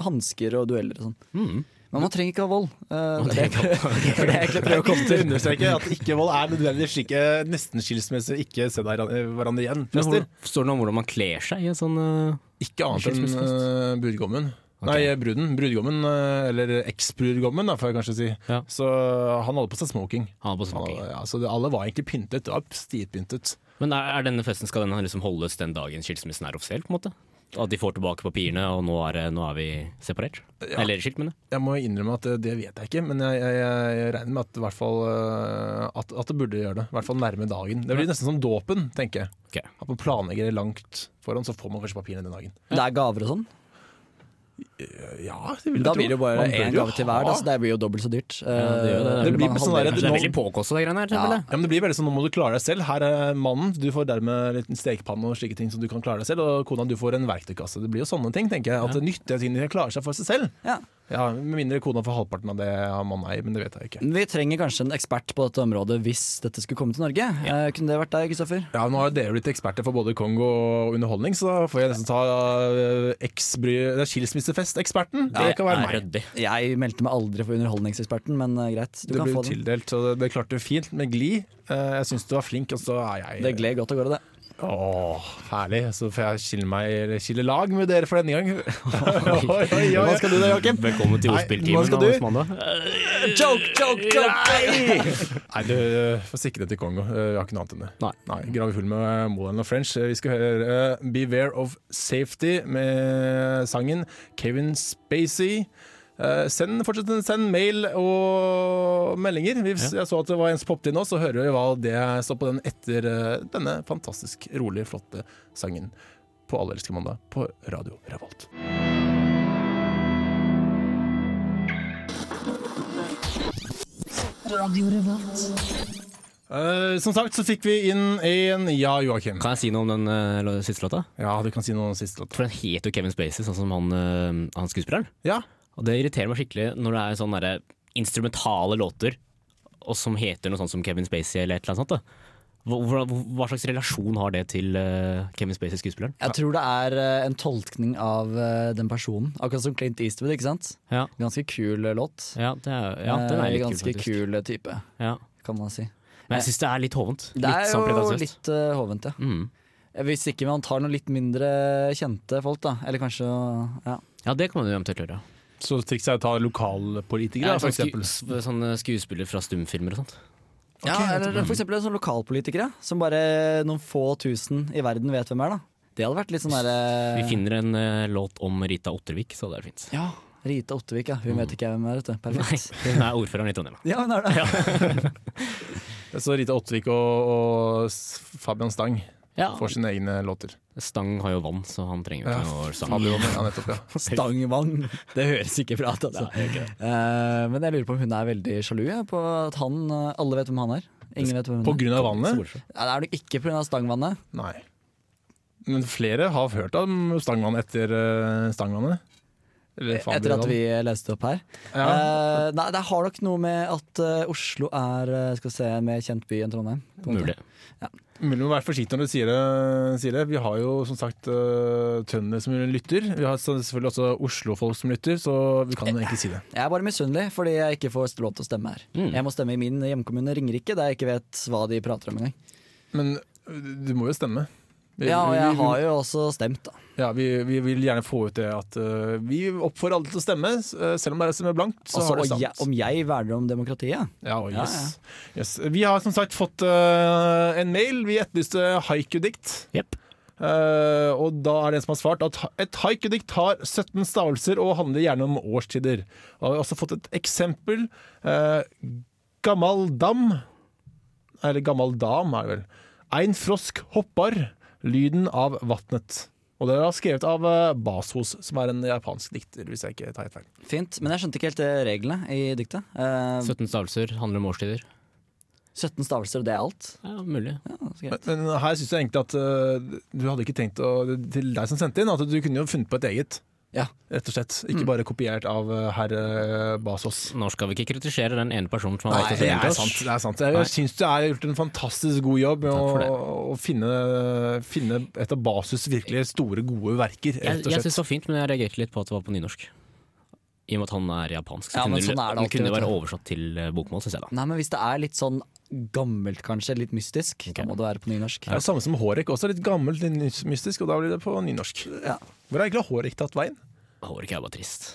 Speaker 3: Hansker og dueller og sånn.
Speaker 4: Mm.
Speaker 3: Men man trenger ikke ha vold. Eh, det er det jeg- for det jeg egentlig prøver å komme
Speaker 2: Til å understreke at ikke-vold er nødvendigvis ikke nesten-skilsmisser, ikke se deg hverandre igjen.
Speaker 4: Men hvor,
Speaker 2: Fester.
Speaker 4: står det noe om hvordan man kler seg i en sånn eh,
Speaker 2: Ikke annet enn
Speaker 4: Skilsmissefest.
Speaker 2: eh, brudgommen.
Speaker 4: Ok.
Speaker 2: Nei, bruden. Brudgommen, eh, eller eksbrudgommen, da, får jeg kanskje si.
Speaker 4: Ja.
Speaker 2: Så eh, han hadde på seg smoking.
Speaker 4: Han hadde på seg
Speaker 2: Han
Speaker 4: smoking.
Speaker 2: hadde- Ja, så det, alle var egentlig pyntet. Det var stivpyntet.
Speaker 4: Men er, er denne festen, skal den liksom holdes den dagen skilsmissen er offisiell? på en måte? At de får tilbake papirene, og nå er, det- nå er vi separert? Eller skilt, mener jeg.
Speaker 2: Jeg må innrømme at eh, det, det vet jeg ikke, men jeg, jeg, jeg jeg regner med at, i hvert fall, eh, at, at det burde gjøre det. I hvert fall nærme dagen. Det blir nesten som dåpen, tenker jeg.
Speaker 4: Ok.
Speaker 2: At man planlegger langt foran, så får man først papirene den dagen.
Speaker 3: Det er gaver og sånn.
Speaker 2: Ja, det vil jeg
Speaker 3: Da
Speaker 2: tro.
Speaker 3: blir det jo bare
Speaker 2: Man bør
Speaker 3: én
Speaker 2: jo
Speaker 3: gave til hver, da,
Speaker 2: ha-
Speaker 3: så det blir jo dobbelt så dyrt.
Speaker 4: det gjør det.
Speaker 3: Eh,
Speaker 2: Det blir
Speaker 3: man
Speaker 2: sånn der-
Speaker 3: halverer
Speaker 4: Kanskje det er
Speaker 2: nå-
Speaker 4: veldig påkostet, de greiene her. selvfølgelig.
Speaker 2: Ja, men det blir veldig sånn, Nå må du klare deg selv. Her er mannen, du får dermed litt stekepanne og slike ting som du kan klare deg selv. Og kona, du får en verktøykasse. Det blir jo sånne ting, tenker jeg. At nyttige ting de klarer seg for seg selv.
Speaker 3: Ja.
Speaker 2: Ja, Med mindre kona får halvparten av det mannen eier, men det vet jeg ikke.
Speaker 3: Vi trenger kanskje en ekspert på dette området hvis dette skulle komme til Norge. Eh, kunne det vært deg, Kristoffer?
Speaker 2: Ja, Nå har dere blitt eksperter for både Kongo og underholdning, så da får jeg nesten ta eh, eksbry... det er Skilsmissefest-eksperten. Det kan være
Speaker 4: er
Speaker 2: meg.
Speaker 4: ryddig.
Speaker 3: Jeg meldte meg aldri for underholdningseksperten, men eh, greit. Du
Speaker 2: Det
Speaker 3: kan
Speaker 2: ble
Speaker 3: få
Speaker 2: jo
Speaker 3: den.
Speaker 2: tildelt, så det, det klarte du fint med glid. Eh, Jeg syns du var flink, og så er jeg
Speaker 3: Det gled godt av gårde, det.
Speaker 2: Åh, herlig. Så får jeg skille, meg, eller skille lag med dere for denne gang. Oi, oi, oi.
Speaker 4: Hva skal du da, Joakim? Velkommen til
Speaker 2: Nei, hva
Speaker 4: ordspilltimen.
Speaker 2: skal du?
Speaker 4: Anders Mandag.
Speaker 3: Joke, joke, joke!
Speaker 2: Nei, du eh, får sikre deg til Kongo. Eh, Vi har ikke noe annet enn det.
Speaker 4: Nei.
Speaker 2: Grave full med Moland og French. Eh, Vi skal høre eh, 'Beware of Safety' med sangen Kevin Spacey. Eh, Send, fortsett å sende mail og meldinger. Hvis jeg så at det var en som poppet inn nå, så hører vi hva det står på den etter eh, denne fantastisk rolig, flotte sangen på Alle elsker mandag på Radio Revolt. Eh, som sagt så fikk vi inn en Ja, Joakim.
Speaker 4: Kan jeg si noe om den eh, lå- siste låta?
Speaker 2: Ja, du kan si noe om siste låt.
Speaker 4: For den heter jo Kevin Spacey, sånn som han, eh, han skuespilleren.
Speaker 2: Ja,
Speaker 4: Og det irriterer meg skikkelig når det er sånne derre instrumentale låter og som heter noe sånt som Kevin Spacey eller et eller annet sånt. Da. Hva, hva- hva slags relasjon har det til eh, Kevin Spacey, skuespilleren?
Speaker 3: Jeg tror det er eh, en tolkning av eh, den personen. Akkurat som Clint Eastwood, ikke sant?
Speaker 4: Ja,
Speaker 3: Ganske kul eh, låt.
Speaker 4: ja, det er, ja den
Speaker 3: Eh,
Speaker 4: er litt
Speaker 3: Ganske
Speaker 4: faktisk.
Speaker 3: kul eh, type,
Speaker 4: Ja.
Speaker 3: kan man si.
Speaker 4: Men jeg syns det er litt hovent.
Speaker 3: Det
Speaker 4: litt
Speaker 3: er
Speaker 4: sånn
Speaker 3: jo
Speaker 4: pretensiøst.
Speaker 3: litt eh, hovent, ja.
Speaker 4: Mm.
Speaker 3: Hvis ikke man tar noen litt mindre kjente folk, da. Eller kanskje ja.
Speaker 4: Ja, det kan man jo eventuelt gjøre.
Speaker 2: Så trikset er å ta lokalpolitikere,
Speaker 4: Ja,
Speaker 2: for
Speaker 4: sånn sku,
Speaker 2: eksempel.
Speaker 4: s- sånn skuespiller fra stumfilmer og sånt.
Speaker 3: ja eller for eksempel sånne lokalpolitikere, som bare noen få tusen i verden vet hvem er, da. Det hadde vært litt sånn derre
Speaker 4: Vi finner en eh, låt om Rita Ottervik, så det er fint.
Speaker 3: Ja, Rita Ottervik, ja. Hun vet ikke hvem er, vet du.
Speaker 4: Nei,
Speaker 3: Perfekt.
Speaker 4: hun er ordføreren i Trondheim. da.
Speaker 3: Ja, hun er det.
Speaker 2: Så Rita Ottervik og, og S- Fabian Stang får
Speaker 4: Ja,
Speaker 2: sine egne låter.
Speaker 4: Stang har jo vann, så han trenger jo
Speaker 2: Ja,
Speaker 4: ikke noe sang.
Speaker 2: Fabian, ja, nettopp, ja.
Speaker 3: Stangvang. Det høres ikke bra ut, altså. Eh, men jeg lurer på om hun er veldig sjalu jeg, på at han eh, Alle vet hvem han er. Ingen vet hvem
Speaker 2: På
Speaker 3: hun er.
Speaker 2: grunn av vannet?
Speaker 3: Ja, det er nok ikke pga. stangvannet.
Speaker 2: Nei. Men flere har hørt om Stangvann etter eh, Stangvannet. Eller
Speaker 3: Etter at
Speaker 2: Fabian.
Speaker 3: vi leste opp her.
Speaker 2: Ja.
Speaker 3: Eh, nei, det har nok noe med at eh, Oslo er eh, skal vi se, en mer kjent by enn Trondheim.
Speaker 4: Mulig.
Speaker 2: Mulig å være forsiktig når du sier det, sier det. Vi har jo som sagt uh, trøndere som lytter. Vi har så- selvfølgelig også Oslo-folk som lytter, så vi kan
Speaker 3: Eh,
Speaker 2: egentlig si det.
Speaker 3: Jeg er bare misunnelig fordi jeg ikke får lov til å stemme her. Jeg må stemme i min hjemkommune Ringerike, der jeg ikke vet hva de prater om engang.
Speaker 2: Men eh, du må jo stemme. Vi-
Speaker 3: Ja, og jeg
Speaker 2: vi-
Speaker 3: har jo også stemt, da.
Speaker 2: Ja, vi, vi vil gjerne få ut det at eh, vi oppfordrer alle til å stemme. s- eh, selv om det er stemmer blankt, så
Speaker 3: Altså,
Speaker 2: har det
Speaker 3: og
Speaker 2: stemt.
Speaker 3: jeg, om jeg verner om demokratiet?
Speaker 2: Ja, og
Speaker 3: Ja,
Speaker 2: yes. Yes. Vi har som sagt fått eh, en mail. Vi etterlyste haiku-dikt.
Speaker 4: Jepp.
Speaker 2: Eh, og da er det en som har svart at et haikudikt har 17 stavelser og handler gjerne om årstider. Og vi har også fått et eksempel. Uh, gammal dam Eller gammal dam, er det vel. Ein frosk hoppar, lyden av vatnet. Og det er skrevet av eh, Basos, som er en japansk dikter, hvis jeg ikke tar helt feil.
Speaker 3: Fint, men jeg skjønte ikke helt eh, reglene i diktet. Eh,
Speaker 4: 17 stavelser handler om årstider.
Speaker 3: 17 stavelser, det er alt?
Speaker 4: Ja, mulig.
Speaker 3: Ja, så greit.
Speaker 2: Men, men her syns jeg egentlig at eh, du hadde ikke tenkt å Til deg som sendte inn, at du kunne jo funnet på et eget.
Speaker 3: Ja.
Speaker 2: Rett og slett. Ikke bare kopiert av eh, herr eh, Basos.
Speaker 4: Nå skal vi ikke kritisere den ene personen som
Speaker 2: Nei,
Speaker 4: har valgt å
Speaker 2: det
Speaker 4: sende den
Speaker 2: er
Speaker 4: til oss.
Speaker 2: sant. Det er sant. Jeg syns du har gjort en fantastisk god jobb med
Speaker 4: Takk for
Speaker 2: å, å finne, finne et av Basus virkelig store, gode verker.
Speaker 4: Jeg,
Speaker 2: Rett og
Speaker 4: jeg
Speaker 2: slett.
Speaker 4: synes det var fint, men jeg reagerte litt på at det var på nynorsk. I og med at han er japansk, så
Speaker 3: Ja, men
Speaker 4: kunne det,
Speaker 3: sånn er det
Speaker 4: den
Speaker 3: alltid,
Speaker 4: kunne
Speaker 3: vet
Speaker 4: være
Speaker 3: du.
Speaker 4: oversatt til eh, bokmål, synes jeg da.
Speaker 3: Nei, men hvis det er litt sånn gammelt, kanskje, litt mystisk,
Speaker 4: Ok.
Speaker 3: da må det være på nynorsk.
Speaker 2: Det er det samme som Hårek, også litt gammelt, litt mystisk, og da blir det på nynorsk.
Speaker 3: Ja.
Speaker 2: Hvor har egentlig Hårek tatt veien?
Speaker 4: Hårek er bare trist.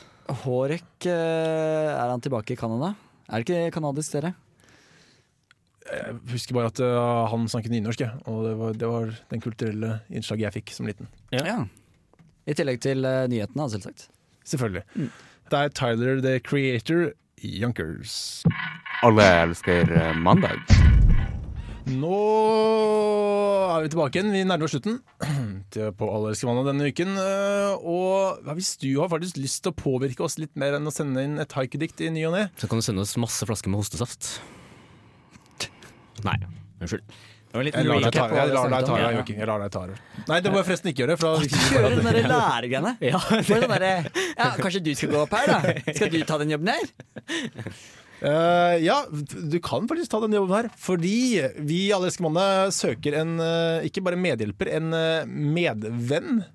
Speaker 3: Hårek, eh, er han tilbake i Canada? Er det ikke kanadisk, dere?
Speaker 2: Jeg husker bare at øh, han snakket nynorsk, jeg, og det var, det var den kulturelle innslaget jeg fikk som liten.
Speaker 4: Ja.
Speaker 3: I tillegg til eh, nyhetene, selvsagt.
Speaker 2: Selvfølgelig.
Speaker 4: Mm.
Speaker 2: Det er Tyler the Creator, Junkers.
Speaker 5: Alle elsker eh, mandag.
Speaker 2: Nå er vi tilbake igjen. Vi nærmer oss slutten til- på Allerskvanna denne uken. Eh, Og ja, hvis du har faktisk lyst til å påvirke oss litt mer enn å sende inn et haikedikt i ny og ne
Speaker 4: Så kan du sende oss masse flasker med hostesaft. Nei, unnskyld.
Speaker 5: Det var litt
Speaker 2: Jeg lar deg ta
Speaker 3: recap på alle
Speaker 2: det,
Speaker 4: samtalene.
Speaker 2: Joakim. Jeg lar deg ta det. Nei, det må jeg forresten ikke gjøre. For da
Speaker 3: Gjør den derre læregreiene. Ja, sånn ja, kanskje du skal gå opp her, da? Skal du ta den jobben her?
Speaker 2: Eh, ja, du kan faktisk ta den jobben her. Fordi vi i Allerskvanna søker en, eh, ikke bare medhjelper, en eh, medvenn.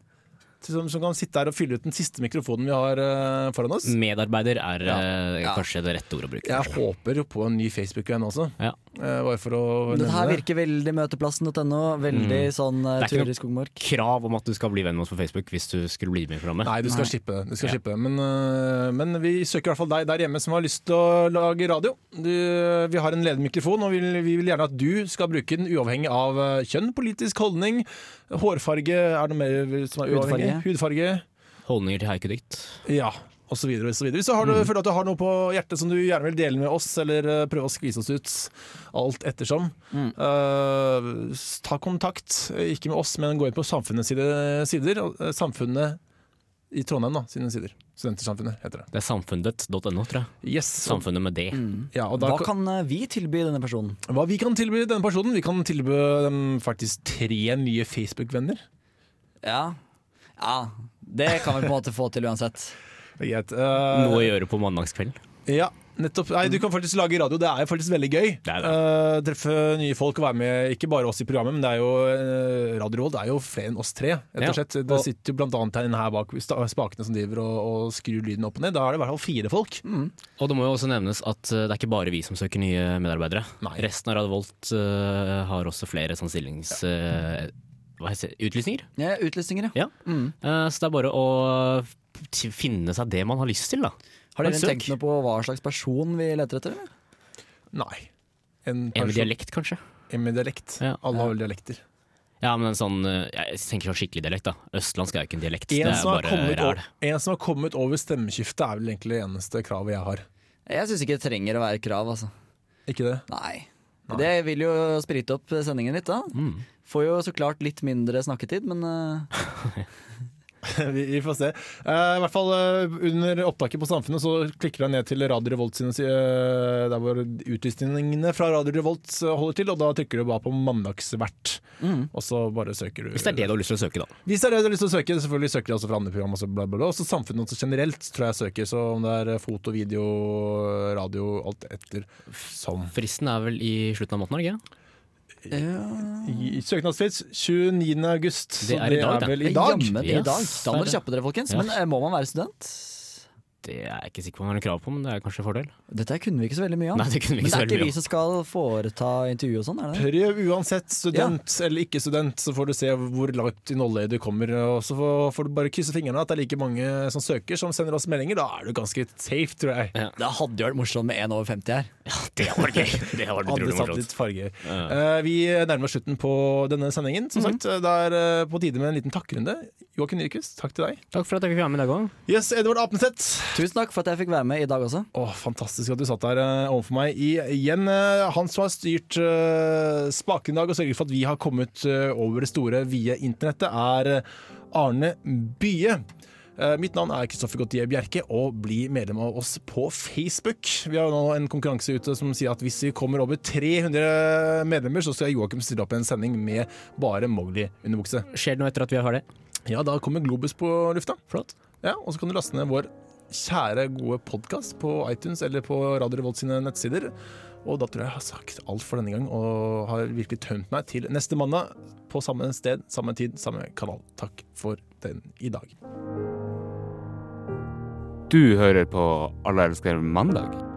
Speaker 2: Som, som kan sitte her og fylle ut den siste mikrofonen vi har eh, foran
Speaker 3: Mm.
Speaker 2: oss.
Speaker 4: Medarbeider er eh,
Speaker 3: Ja.
Speaker 4: kanskje det rette ordet å bruke.
Speaker 2: Jeg håper jo på en ny Facebook-venn også.
Speaker 4: Ja.
Speaker 2: Eh, bare for å
Speaker 3: Dette her
Speaker 2: nevne det.
Speaker 3: virker veldig møteplassen.no. Veldig sånn eh,
Speaker 4: Det er ikke
Speaker 3: turer
Speaker 4: noe-
Speaker 3: i skogmark.
Speaker 4: Krav om at du skal bli venn med oss på Facebook hvis du skulle bli med i programmet.
Speaker 2: Nei, du skal slippe det. Du skal slippe det. Men, øh, men vi søker i hvert fall deg der hjemme som har lyst til å lage radio. Du, vi har en ledig mikrofon, og vi vil, vi vil gjerne at du skal bruke den uavhengig av øh, kjønn, politisk holdning, hårfarge Er det noe mer som er uavhengig?
Speaker 3: Hudfarge.
Speaker 2: Hudfarge.
Speaker 4: Holdninger til haikudikt.
Speaker 2: Ja. Og så videre, og så videre. Hvis du har, føler at du har noe på hjertet som du gjerne vil dele med oss, eller øh, prøve å skvise oss ut, alt ettersom, øh, s- ta kontakt. Ikke med oss, men gå inn på samfunnets side- sider. og, øh, Samfunnet i Trondheim, da, sine sider. Studentersamfunnet heter det.
Speaker 4: Det er samfunnet.no, tror jeg.
Speaker 2: Yes,
Speaker 4: Samfunnet med det.
Speaker 2: ja, og da,
Speaker 3: Hva kan eh, vi tilby denne personen?
Speaker 2: hva vi kan tilby denne personen? Vi kan tilby dem faktisk tre nye Facebook-venner.
Speaker 3: Ja. ja, det kan vi på en måte få til uansett.
Speaker 2: Det er greit. Eh,
Speaker 4: Noe å gjøre på mandagskvelden.
Speaker 2: ja, nettopp. Nei, du kan faktisk lage radio. Det er jo faktisk veldig gøy.
Speaker 4: Det er det.
Speaker 2: Eh, treffe nye folk og være med, ikke bare oss i programmet, men det er jo eh, Radio Revolt er jo flere enn oss tre, rett
Speaker 4: Ja.
Speaker 2: og slett. Det
Speaker 4: Og-
Speaker 2: sitter jo blant annet her, inne her bak sta- spakene som driver og, og skrur lyden opp og ned. Da er det i hvert fall fire folk.
Speaker 4: Mm. Og det må jo også nevnes at eh, det er ikke bare vi som søker nye medarbeidere.
Speaker 2: Nei.
Speaker 4: Resten av Radio Volt eh, har også flere sånn stillings... eh, hva heter det? Utlysninger?
Speaker 3: Ja, utlysninger, ja.
Speaker 4: Ja. Eh, så det er bare å t- finne seg det man har lyst til, da.
Speaker 3: Har dere
Speaker 4: Men søk.
Speaker 3: tenkt noe på hva slags person vi leter etter? eller?
Speaker 2: Nei. En
Speaker 4: En med
Speaker 2: person-
Speaker 4: dialekt, kanskje.
Speaker 2: En med dialekt.
Speaker 4: Ja.
Speaker 2: Alle har vel dialekter.
Speaker 4: Ja, men en sånn eh, Jeg tenker sånn skikkelig dialekt, da. Østlandsk er jo ikke en dialekt. det
Speaker 2: En
Speaker 4: er
Speaker 2: som, har
Speaker 4: bare
Speaker 2: kommet
Speaker 4: ræl.
Speaker 2: over, en som har kommet over stemmeskiftet, er vel egentlig det eneste kravet jeg har.
Speaker 3: Jeg syns ikke det trenger å være krav, altså.
Speaker 2: Ikke det?
Speaker 3: Nei. Mm. Det vil jo sprite opp sendingen litt, da. Får jo så klart litt mindre snakketid, men eh,
Speaker 2: Vi, vi får se. Eh, I hvert fall eh, Under opptaket på Samfunnet så klikker jeg ned til Radio Revolt sine si- eh, Der hvor utlysningene fra Radio Revolt eh, holder til, og da trykker du bare på 'mandagsvert'.
Speaker 4: Mm.
Speaker 2: Og så bare søker du.
Speaker 4: Hvis det er det du har lyst til å søke, da.
Speaker 2: Hvis det er det du har lyst til å søke, selvfølgelig søker de også fra andre program. Også, bla, bla, bla. Også Samfunnet også generelt tror jeg søker, så om det er eh, foto, video, radio, alt etter som.
Speaker 4: Fristen er vel i slutten av måneden, er det ikke?
Speaker 2: I- Søknadsfrist 29. august.
Speaker 4: Det
Speaker 2: så
Speaker 4: er i dag, da.
Speaker 2: vel i dag.
Speaker 3: Jammen i
Speaker 4: Yes.
Speaker 3: dag. Da må dere kjappe dere, folkens.
Speaker 4: Ja.
Speaker 3: Men eh, må man være student?
Speaker 4: Det er jeg ikke sikker på om man har krav på, men det er kanskje en fordel.
Speaker 3: Dette her kunne vi ikke så veldig mye om.
Speaker 4: Nei, det kunne vi
Speaker 3: Men
Speaker 4: ikke
Speaker 3: det
Speaker 4: så
Speaker 3: er
Speaker 4: veldig
Speaker 3: ikke
Speaker 4: mye
Speaker 3: vi
Speaker 4: om.
Speaker 3: som skal foreta intervju og sånn, er det det?
Speaker 2: Prøv uansett, student eller ikke student, så får du se hvor langt i nåløyet du kommer. Og så får- får du bare krysse fingrene at det er like mange som søker som sender oss meldinger. Da er du ganske safe, tror jeg.
Speaker 4: Ja.
Speaker 3: Det hadde jo vært morsomt med en over 50 her.
Speaker 4: Det var gøy! Det var
Speaker 2: Hadde
Speaker 4: utrolig
Speaker 2: satt
Speaker 4: morsomt.
Speaker 2: litt farge.
Speaker 4: Ja.
Speaker 2: Eh, vi nærmer oss slutten på denne sendingen. Som sagt, det er eh, på tide med en liten takkrunde. Joakim Nyquist, takk til deg.
Speaker 4: Takk for at jeg fikk være med i dag òg.
Speaker 2: Yes, Edvard Apneseth.
Speaker 3: Tusen takk for at jeg fikk være med i dag også.
Speaker 2: Åh, fantastisk at du satt der eh, overfor meg I, igjen. eh, han som har styrt eh, spaken i dag og sørget for at vi har kommet eh, over det store via internettet, er eh, Arne Bye. Eh, mitt navn er Kristoffer Gautier Bjerke, og bli medlem av oss på Facebook. Vi har jo nå en konkurranse ute som sier at hvis vi kommer over 300 medlemmer, så skal Joakim stille opp i en sending med bare Mowgli-underbukse.
Speaker 4: Skjer det noe etter at vi har det?
Speaker 2: Ja, da kommer Globus på lufta. Flott. Ja, og så kan du laste ned vår kjære, gode podkast på iTunes eller på Radio Revolt sine nettsider. Og da tror jeg jeg har sagt alt for denne gang, og har virkelig tømt meg til neste mandag på samme sted, samme tid, samme kanal. Takk for den i dag.
Speaker 5: Du hører på Alle elsker mandag.